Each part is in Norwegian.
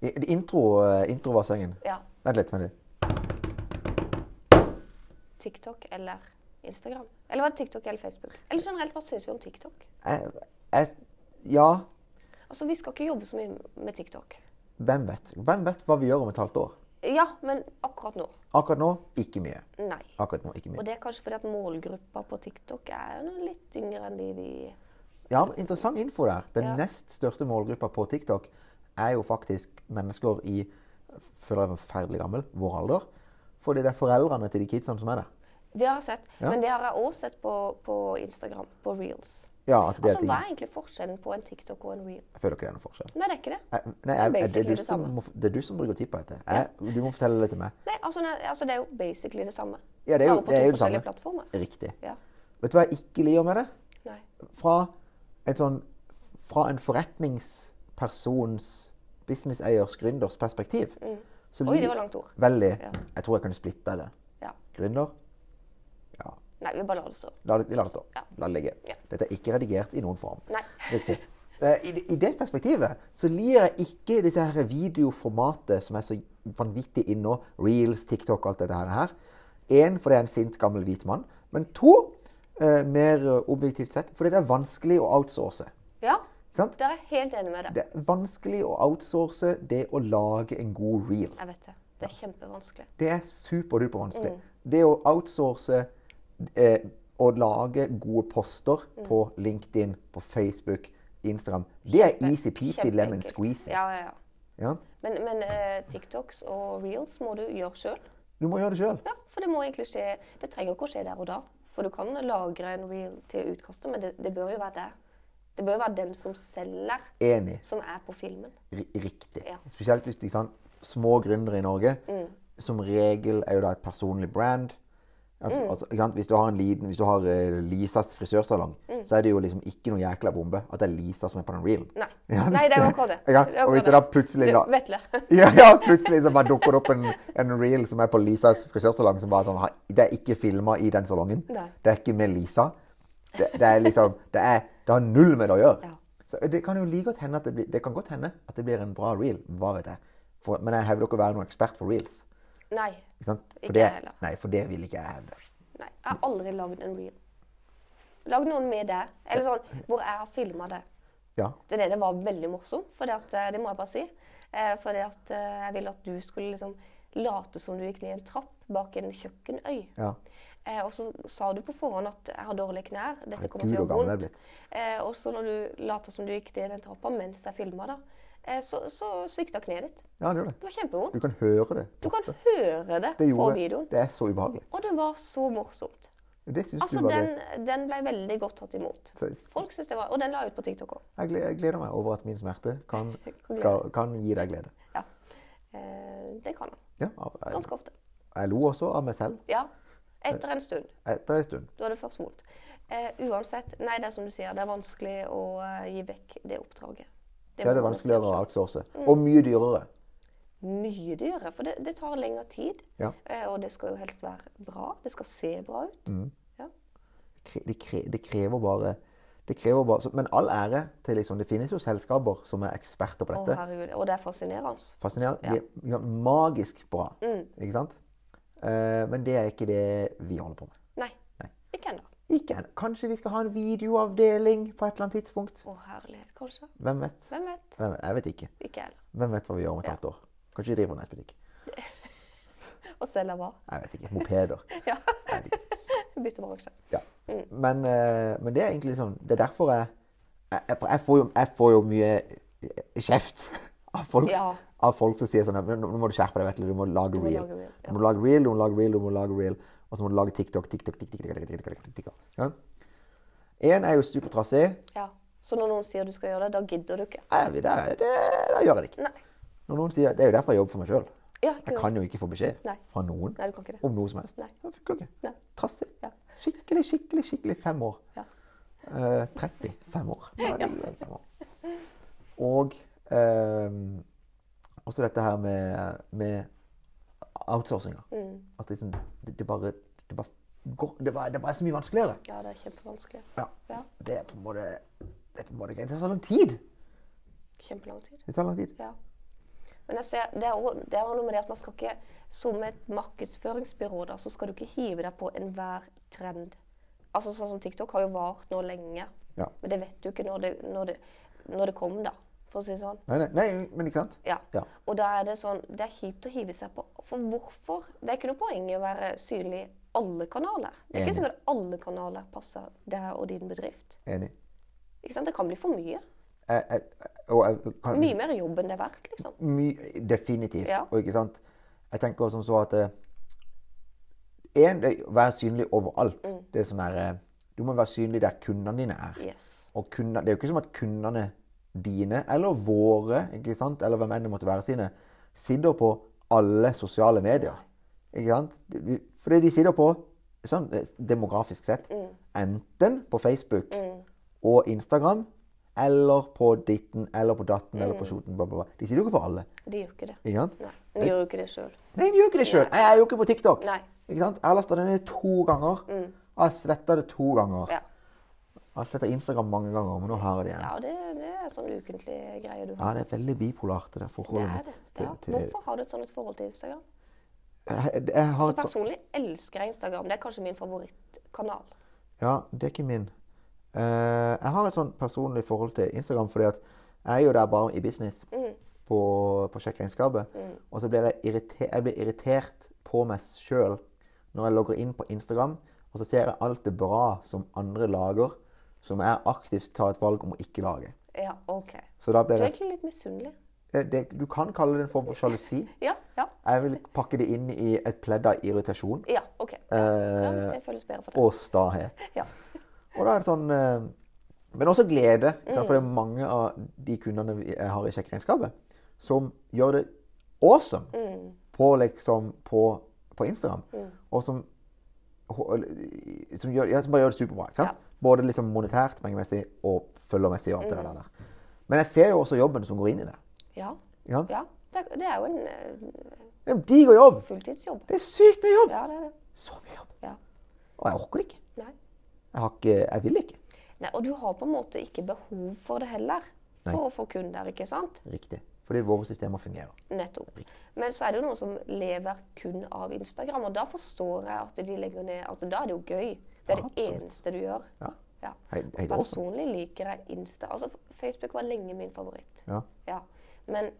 I- Intro, eh, introvarsengen. Ja. Vent litt. vent litt. TikTok eller Instagram? Eller var det TikTok eller Facebook? Eller generelt, hva syns vi om TikTok? Jeg, jeg, ja, Altså, Vi skal ikke jobbe så mye med TikTok. hvem vet? Hvem vet hva vi gjør om et halvt år? Ja, men akkurat nå Akkurat nå ikke mye. nei. Akkurat nå, ikke Og mye. det er kanskje fordi at målgruppa på TikTok er noe litt yngre enn de vi Ja, men Interessant info der. Den Ja. nest største målgruppa på TikTok er jo faktisk mennesker i føler jeg er forferdelig gammel, vår alder. Fordi det er foreldrene til de kidsene som er der. Det har jeg sett. Ja. Men det har jeg òg sett på, på Instagram, på reels. Ja, at det er Altså, ting. Hva er egentlig forskjellen på en TikTok og en reel? Jeg føler ikke det er noen forskjell. Nei, det er ikke det. Jeg, nei, jeg, det, basically er du det som samme. må, det er du som bruker tid på dette. Jeg, Du må fortelle det til meg. Nei, altså, nei, altså Det er jo basically det samme. Ja, det er jo- Bare på det er to jo det samme. forskjellige plattformer. Riktig. Ja. Vet du hva jeg ikke liker med det? Nei. Fra en, sånn, fra en forretningspersons, businesseiers, gründers perspektiv så Mm. Oi, det lik- var langt ord. Veldig. Ja. Jeg tror jeg kunne splitta det. Ja. Gründer? Ja. Nei, vi bare lar det stå. La det, vi lar det stå. Ja. La det ligge. Ja. Dette er ikke redigert i noen form. Nei. Riktig. Eh, I, det- I det perspektivet så liker jeg ikke disse her videoformatet som er så vanvittig inn nå. Reels, TikTok, alt dette her. Én fordi jeg er en sint, gammel hvit mann. Men to, eh, mer eh, objektivt sett, fordi det er vanskelig å outsource. Ja, Ikke sant? der er jeg helt enig med deg. Det er vanskelig å outsource det å lage en god reel. Jeg vet det. Det er kjempevanskelig. Det er superduper vanskelig. Mm. Det å outsource eh, og lage gode poster Mm. på LinkedIn, på Facebook, Instagram, det er easy-peasy Kjempe- lemon kjempeenkelt. squeezy. Ja, ja, ja. Ikke sant? Men, men eh, TikToks og reels må du gjøre sjøl. Du må gjøre det sjøl. Ja, for det må egentlig skje Det trenger ikke å skje der og da. For du kan lagre en reel til utkastet, men det, det bør jo være det. Det bør være den som selger, Enig. som er på filmen. Ri- Riktig. Ja. Spesielt hvis du kan små gründere i Norge. Som regel er jo da et personlig brand. At, altså, ikke sant? Hvis du har, en liten, hvis du har eh, Lisas frisørsalong, så er det jo liksom ikke noe jækla bombe at det er Lisa som er på den reelen. Nei. Ja, Nei, det er jo akkurat det. Ja, Det er og hvis akkurat det da plutselig Så, da, Vetle. Ja, ja, plutselig så bare dukker det opp en, en reel som er på Lisas frisørsalong som bare sånn ha- Det er ikke filma i den salongen. Nei. Det er ikke med Lisa. Det, det er liksom det, er, det har null med det å gjøre. Ja. Så det kan jo like godt hende at det, blir, det kan godt hende at det blir en bra reel. Hva vet jeg. For, men jeg hevder ikke å være noen ekspert på reels. Nei. Ikke sant? Ikke For det, jeg heller. nei, for det vil ikke jeg hevde. Nei. Jeg har aldri lagd en reel. Lagd noen med det. Eller sånn hvor jeg har filma det. Ja. Det er det det var veldig morsomt, for det, at, eh, det må jeg bare si. Eh, For det at eh, jeg ville at du skulle liksom late som du gikk ned en trapp bak en kjøkkenøy. ja. Eh, og så sa du på forhånd at jeg har dårlige knær, dette kommer Herregud, til å hvor gjøre gammel jeg er vondt. Eh, og så når du later som du gikk ned den trappa mens jeg filma, da, eh, så, så svikta kneet ditt. ja, det gjør det. Det var kjempevondt. Du kan høre det. Du kan høre det, Det på gjorde videoen. Det er så ubehagelig. Og det var så morsomt. Det syns Altså, du var den, den ble veldig godt tatt imot. det. Så- Folk synes det var, Og den la jeg ut på TikTok òg. Jeg gleder, jeg gleder meg over at min smerte kan, Kan skal, kan gi deg glede. Ja. Eh, det kan jeg. Ja, av- jeg, Ganske ofte. jeg lo også av meg selv Ja. Etter en stund. etter en stund. Da er det først vondt. Eh, uansett, nei, det er som du sier, det er vanskelig å eh, gi vekk det oppdraget. Det er Mm. må det man vanskeligere å gjøre outsource. Og mye dyrere. selv. Mye dyrere, for det, det tar lengre tid. Ja. Eh, og det skal jo helst være bra. Det skal se bra ut. Ja. Kre- Det, kre, det krever bare det krever bare, så- Men all ære til liksom Det finnes jo selskaper som er eksperter på Å, dette. herregud. Og det er fascinerende. Fascinerende. De er ikke sant, magisk bra. Ikke sant? Eh, men det er ikke det vi holder på med. Nei. Nei. Ikke ennå. Ikke ennå. Kanskje vi skal ha en videoavdeling på et eller annet tidspunkt? Å, herlighet, kanskje. Hvem vet? Hvem vet? Hvem, jeg vet ikke. Ikke heller. Hvem vet hva vi gjør om et halvt år? Kanskje vi driver nettbutikk. Og selger hva? Jeg vet ikke. Mopeder. Ja. Jeg vet ikke. Bytter bransje. Ja. Mm. Men, eh, men det er egentlig sånn Det er derfor jeg Jeg, jeg, jeg, får, jo, jeg får jo mye eh, kjeft av folk, Ja. av folk som sier sånn «Men Nå nå må du skjerpe deg, Vetle. Du må lage må reel. lage reel, ja. Du må lage reel, du må lage reel, du må lage reel. Og så må du lage TikTok, TikTok, TikTok, TikTok, TikTok, TikTok, TikTok. Ja. En er jo super trasé. Ja. Så når noen sier du skal gjøre det, da gidder du ikke. Nei, Det, det, det gjør jeg ikke. Nei. Når noen sier, Det er jo derfor jeg jobber for meg sjøl. Ja, ikke Jeg gjør det. kan jo ikke få beskjed Nei. fra noen Nei, du kan ikke det. om noe som helst. Nei. Det funker jo ikke. Nei. Trassig. Ja. Skikkelig, skikkelig, skikkelig fem år. Ja. Eh, 35 år. Ja, det er jo fem år. Og ehm, også dette her med, med outsourcinga. Mm. At liksom, det, det bare det bare, går, det, bare, det bare er så mye vanskeligere. Ja, det er kjempevanskelig. Ja. Ja. Det er på en måte det er på en måte greit. Det tar så lang tid. Kjempelang tid. Det tar lang tid. Ja. Men jeg ser, det er også- det er også noe med det at man skal ikke Som et markedsføringsbyrå da, så skal du ikke hive deg på enhver trend. Altså Sånn som TikTok har jo vart nå lenge. Ja. Men det vet du ikke når det, når det, når det kom, da. For å si det sånn. Nei, nei, nei, men ikke sant? Ja. Ja. Og da er det sånn Det er kjipt å hive seg på. For hvorfor? Det er ikke noe poeng i å være synlig i alle kanaler. Det er Enig. ikke sikkert alle kanaler passer deg og din bedrift. Enig. Ikke sant? Det kan bli for mye. Jeg, jeg, og jeg, kan, Mye mer jobb enn det er verdt, liksom. My, definitivt. Ja. Og ikke sant? Jeg tenker som så at eh, en, det er å være synlig overalt. Det er sånn der, eh, du må være synlig der kundene dine er. Yes. Og kunder, det er jo ikke som at kundene dine, eller våre, ikke sant? eller hvem enn det måtte være sine, sitter på alle sosiale medier. Ikke sant? Det- Fordi de sitter på, sånn eh, demografisk sett, Mm. enten på Facebook og Instagram, eller på ditten, eller på datten, eller på skjoten, bla, bla, bla. De sitter jo ikke på alle. De gjør ikke det. Ikke sant? Mm. Nei. De gjør jo ikke det sjøl. Nei, de gjør ikke det sjøl. Jeg er jo ikke på TikTok. Nei. Mm. Ikke sant? Jeg har lasta det ned to ganger. Jeg har sletta det to ganger. Ja. Jeg har sletta Instagram mange ganger, men nå har jeg det igjen. ja, det, det er sånn ukentlig greie du har. Ja, det er veldig bipolart, det der Det forholdet er det. mitt. Ja. Til, til, Hvorfor har du et sånt et forhold til Instagram? jeg, jeg har Så et sånt personlig elsker jeg Instagram. Det er kanskje min favorittkanal. Ja, det er ikke min. Eh, jeg har et sånn personlig forhold til Instagram, fordi at jeg er jo der bare i business. Mm. På, på sjekkregnskapet. Og så blir jeg, irriter, jeg blir irritert på meg sjøl når jeg logger inn på Instagram, og så ser jeg alt det bra som andre lager, som jeg aktivt tar et valg om å ikke lage. Ja, OK. Så da Du blir er jeg, egentlig litt misunnelig. det, det, Du kan kalle det en form for sjalusi. Ja, ja. Jeg vil pakke det inn i et pledd av irritasjon Eh, Ja, OK. Ja, hvis det føles bedre for deg. og stahet. Ja. Og da er det sånn eh, Men også glede. ikke sant? For det er mange av de kundene vi- jeg har i sjekkeregnskapet, som gjør det awesome på, liksom, på, på Instagram. Og som, som, gjør, ja, som bare gjør det superbra. ikke sant? Både liksom monetært, pengemessig og følgermessig. og alt det der. Men jeg ser jo også jobben som går inn i det. Ja. ikke sant? ja. Det, er, det er jo en eh, Det er en diger jobb! fulltidsjobb. Det er sykt mye jobb! Ja, det er det. Så mye jobb. Ja. Og jeg orker det ikke. Nei. Jeg, har ikke, jeg vil ikke. Nei. Og du har på en måte ikke behov for det heller. For Nei. å få kunder, ikke sant? Riktig. Fordi våre systemer fungerer. Nettopp. Men så er det jo noen som lever kun av Instagram, og da forstår jeg at de legger ned Altså, da er det jo gøy. Det er det Absolutt. eneste du gjør. Ja. Ja. Hei- hei, det er awesome. Personlig liker jeg Insta. Altså, Facebook var lenge min favoritt. Ja. Ja. Men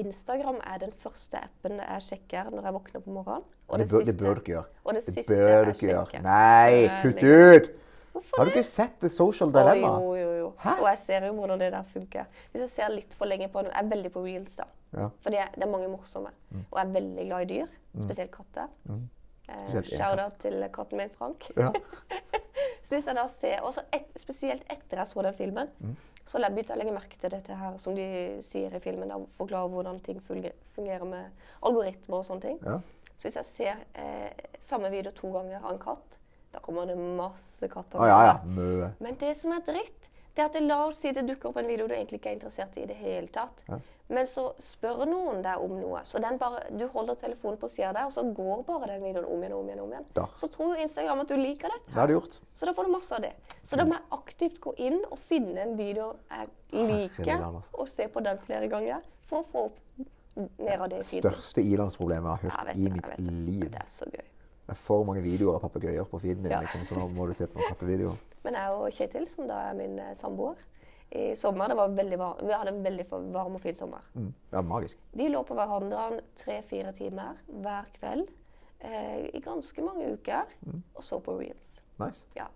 Instagram er den første appen jeg sjekker når jeg våkner på morgenen. Og det, bør, det bør du ikke gjøre. Og det, det siste bør du jeg ikke gjøre. sjekker. Nei, Jeg kutt legger- ut! Hvorfor Har du det? ikke sett The Social Å, Dilemma? jo, jo, jo. Hæ? Og jeg ser jo hvordan det der funker. Hvis jeg ser litt for lenge på den, jeg er veldig på reels da. Ja. Mm. Fordi jeg- det er mange morsomme. Og jeg er veldig glad i dyr, spesielt katter. Eh, Spesielt en Shout-out til katten min, Frank. Ja. Så hvis jeg da ser, og så et, Spesielt etter jeg så den filmen, Mm. så la- begynte jeg å legge merke til dette her som de sier i filmen. Da, forklarer hvordan ting funge- fungerer med algoritmer og sånne ting. Ja. Så hvis jeg ser eh, samme video to ganger av en katt, da kommer det masse katter. Å ja, ja. Mø. Men det som er dritt, det er at det, la oss si det dukker opp en video du egentlig ikke er interessert i i det hele tatt. Men så spør noen deg om noe. Så den bare, du holder telefonen på sida der, og så går bare den videoen om igjen og om igjen. og om igjen. Da. Så tror jo Instagram at du liker dette. Det har du gjort. Så da får du masse av det. Så da må jeg aktivt gå inn og finne en video jeg Herregud, liker, Anders. og se på den flere ganger for å få opp mer av det i feeden. Største ilandsproblemet jeg Jeg har vet hørt i det, jeg vet mitt det. liv. Det er så gøy. Det er for mange videoer av papegøyer på feeden din, Ja. liksom, så nå må du se på noen kattevideoer. Men jeg og Kjetil, som da er min eh, samboer, i sommer det var veldig var Vi hadde en veldig varm og fin sommer. Mm. Det er magisk. Vi lå på hverandre tre-fire timer hver kveld eh, i ganske mange uker og så på reels. Nice. Ja.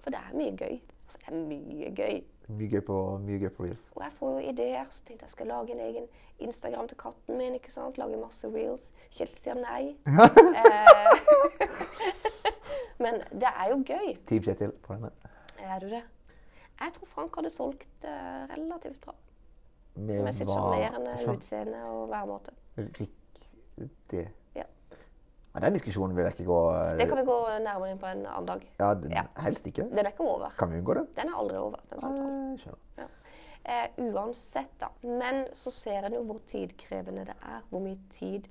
For det er mye gøy. Altså, det er mye gøy. Mye gøy på, mye gøy på reels. Og jeg får jo ideer, så tenkte jeg skal lage en egen Instagram til katten min. ikke sant? Lage masse reels. Kjetil sier nei. eh, men det er jo gøy. Team Kjetil på denne. Er du det? Jeg tror Frank hadde solgt eh, relativt bra. Med, Med sitt sjarmerende utseende og væremåte. Riktig. Ja. Ja, den diskusjonen vil jeg ikke gå Det kan vi gå nærmere inn på en annen dag. Ja, den, Ja. Helst ikke. Den er ikke over. Kan vi unngå det? Den er aldri over, den samtalen. Eh, skjønner. Ja. Eh, uansett, da. Men så ser en jo hvor tidkrevende det er. Hvor mye tid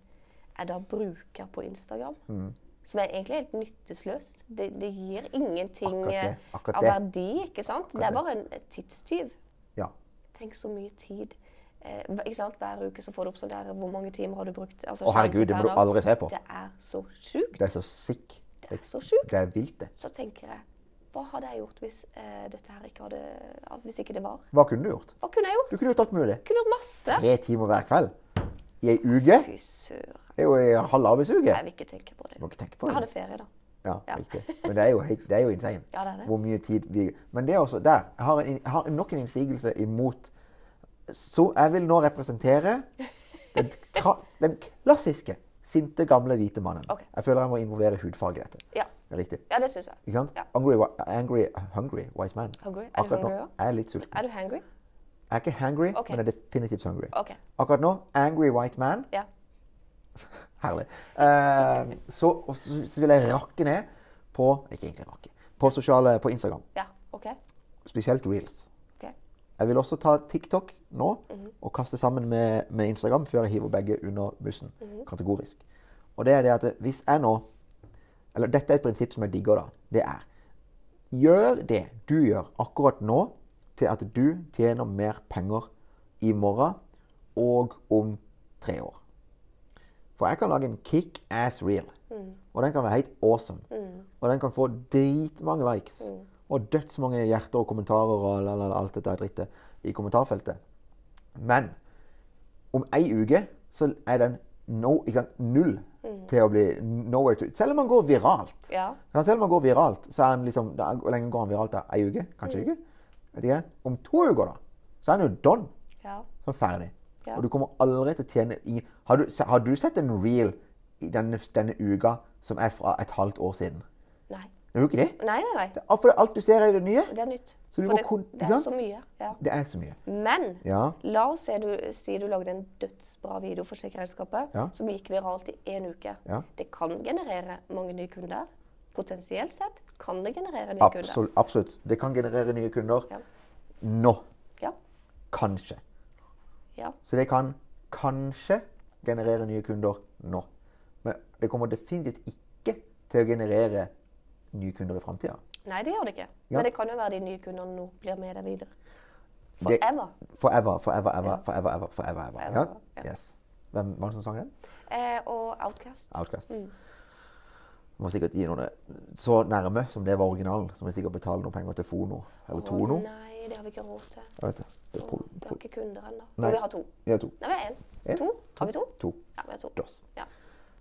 jeg da bruker på Instagram. Mm. Som er egentlig helt nyttesløst. Det, det gir ingenting Akkurat det, eh, akkurat av det. verdi, ikke sant? det er bare en et tidstyv. Ja. Tenk så mye tid eh, hva- ikke sant? Hver uke så får du opp sånn der Hvor mange timer har du brukt? Altså, Å, herregud, skjermtid det per må du dag. aldri se på. Det er så sjukt. Det er så sick. Det er så sjukt. Det er vilt, det. Så tenker jeg Hva hadde jeg gjort hvis eh, dette her ikke hadde at Hvis ikke det var? Hva kunne du gjort? Hva kunne jeg gjort? Du kunne gjort alt mulig. Jeg kunne gjort masse. Tre timer hver kveld i ei uke. Fy søren. Det er jo ei halv arbeidsuke. Jeg vil ikke tenke på det. Må ikke tenke på Jeg det. hadde ferie, da. Ja, Ja. riktig. Men det er jo, helt- det er jo insane. Ja, det er det. Hvor mye tid vi Men det er også der. Jeg har, en, jeg har nok en innsigelse imot Så jeg vil nå representere den, tra, den klassiske sinte, gamle hvite mannen. Ok. Jeg føler jeg må involvere hudfarge i dette. Ja, Riktig. ja det syns jeg. Ikke sant? Ja. Angry, wi- angry, hungry wise man. Hungry? Er du Akkurat nå hungry er også? jeg litt sulten. Er du hangry? Jeg er ikke hangry, Ok. men jeg er definitivt hungry. OK. Akkurat nå angry white man. Ja. Herlig. Eh, så, og så, så vil jeg rakke ned på Ikke egentlig rakke. På sosiale, på Instagram. Ja. OK. Spesielt reels. ok. Mhm. Jeg vil også ta TikTok nå og kaste sammen med, med Instagram før jeg hiver begge under bussen. Mhm. Kategorisk. Og det er det at eh, hvis jeg nå Eller dette er et prinsipp som jeg digger, da. Det er Gjør det du gjør akkurat nå, til at du tjener mer penger i morgen og om tre år. For jeg kan lage en kick-ass reel. Og den kan være helt awesome. Og den kan få dritmange likes. Og dødsmange hjerter og kommentarer og la, la, la, alt dette drittet i kommentarfeltet. Men om ei uke så er den no, ikke sant, null til å bli nowhere to Selv om man går viralt. Ja. Men selv om man går viralt, så er den liksom da, Hvor lenge går han viralt? da? Ei uke? Kanskje Mm. ei uke? Vet ikke. Om to uker, da, så er den jo done. Ja. Så er den ferdig. Ja. Og du kommer aldri til å tjene i Har du, se- har du sett en reel i denne, denne uka som er fra et halvt år siden? Nei. Gjør du ikke det? Nei, nei, nei. Ja, For alt du ser, er jo det nye. Det er nytt. Så du For må det, kon- det ikke er sant? så mye. Ja. Det er så mye. Men Ja. la oss si du, si du lagde en dødsbra video for Sjekkeregnskapet Ja. som gikk viralt i én uke. Ja. Det kan generere mange nye kunder. Potensielt sett kan det generere nye kunder. Absolutt, absolutt. Det kan generere nye kunder. Ja. Nå. Ja. Kanskje. Ja. Så det kan kanskje generere nye kunder nå. Men det kommer definitivt ikke til å generere nye kunder i framtida. Nei, det gjør det ikke. Ja. Men det kan jo være de nye kundene nå blir med deg videre. Det- Forever. Forever, forever, ever, forever, ever. forever, ever. Forever, Ja? ja. Yes. Hvem var det som sang den? Eh, og Outcast. Outcast. Mm. Må sikkert gi noen det. Så nærme som det var originalen, så må vi sikkert betale noen penger til Fono. Eller Tono. Å, nei, det har vi ikke råd til. Jeg vet det. Det er Å, pro- Vi pro- har ikke kunder ennå. Nei. Men vi har to. Vi har to. Nei, vi har én. En. To? Har vi to? To. Ja, vi har to. Dos. Ja.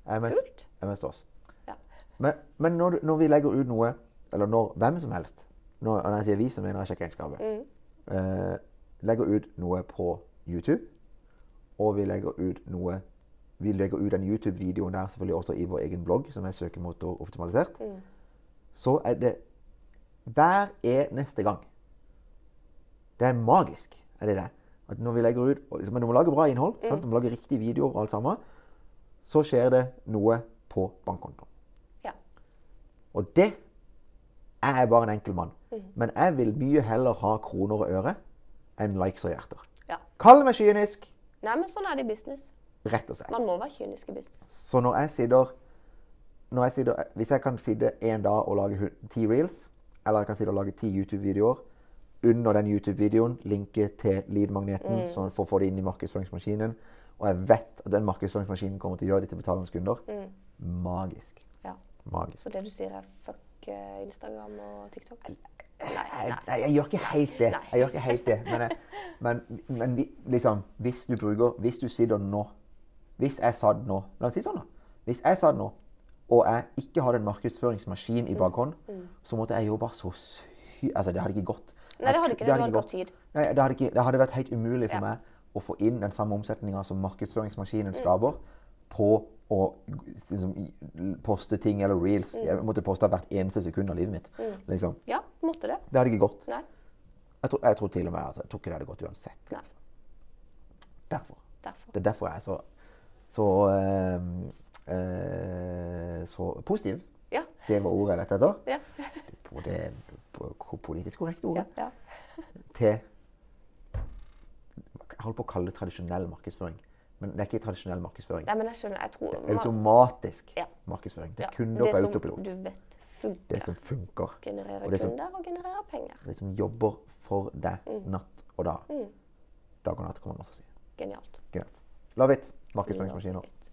Jeg er mest, Kult. jeg er mest dos. Ja. Men, men når, du- når vi legger ut noe, eller når hvem som helst Når, og når jeg sier vi, så mener jeg sjekkeregnskapet. Eh, legger ut noe på YouTube, og vi legger ut noe Vi legger ut den YouTube-videoen der selvfølgelig også i vår egen blogg, som er søkemotoroptimalisert. Så er det hver eneste gang. Det er magisk, er det det. At når vi legger ut, og liksom, Men du må lage bra innhold, sant? du må lage riktige videoer og alt sammen. Så skjer det noe på bankkontoen. ja. Og det Jeg er bare en enkel mann. Mm. Men jeg vil mye heller ha kroner og øre enn likes og hjerter. ja. Kall meg kynisk, Nei, men sånn er det i business. rett og slett. Man må være kynisk i business. Så når jeg sitter, når jeg sitter Hvis jeg kan sitte en dag og lage hu- ti reels, eller jeg kan sitte og lage ti YouTube-videoer under den YouTube-videoen, linke til Mm. lead-magneten sånn for å få det inn i markedsføringsmaskinen, og jeg vet at den markedsføringsmaskinen kommer til å gjøre det til betalende kunder Magisk. Mm. Ja. Magisk. Så det du sier er fuck eh, Instagram og TikTok? Mm. Nei. jeg, nei. nei, jeg gjør ikke helt det. Nei. Jeg gjør ikke helt det. Men, jeg, men, men vi- liksom, hvis du bruker Hvis du sitter nå Hvis jeg satt nå La oss si det sånn, da. Hvis jeg satt nå, og jeg ikke hadde en markedsføringsmaskin Mm. i bakhånd, så måtte jeg jobba så sy... Altså, det hadde ikke gått. Nei, det hadde Jeg- ikke det. Du hadde ikke hatt tid. Nei, det hadde, ikke, det hadde vært helt umulig for Ja. Mm. meg å få inn den samme omsetninga som markedsføringsmaskinen skaper, på å liksom, poste ting eller reels. Mm. Jeg måtte poste hvert eneste sekund av livet mitt. Liksom. Ja, måtte det. Det hadde ikke gått. Nei. Jeg tror, jeg tror til og med altså, jeg tror ikke det hadde gått uansett. nei. altså, Derfor. Derfor. Det er derfor jeg er så, så, eh, eh, så positiv. Ja. Det var ordet jeg lette etter. Ja. På det på politisk korrekte ja. ordet. ja. Til Jeg holdt på å kalle det tradisjonell markedsføring. Men det er ikke tradisjonell markedsføring. Nei, men jeg skjønner. Jeg tror Automatisk Ja. markedsføring. Det Ja, er kunder det på som autopilot. Du vet Det funker. som funker. Genererer og det som- kunder og genererer penger. Mm. Det som jobber for deg natt og dag. Dag og natt, kan man også si. Genialt. Genialt. Love it. Markedsføringsmaskiner. Love it.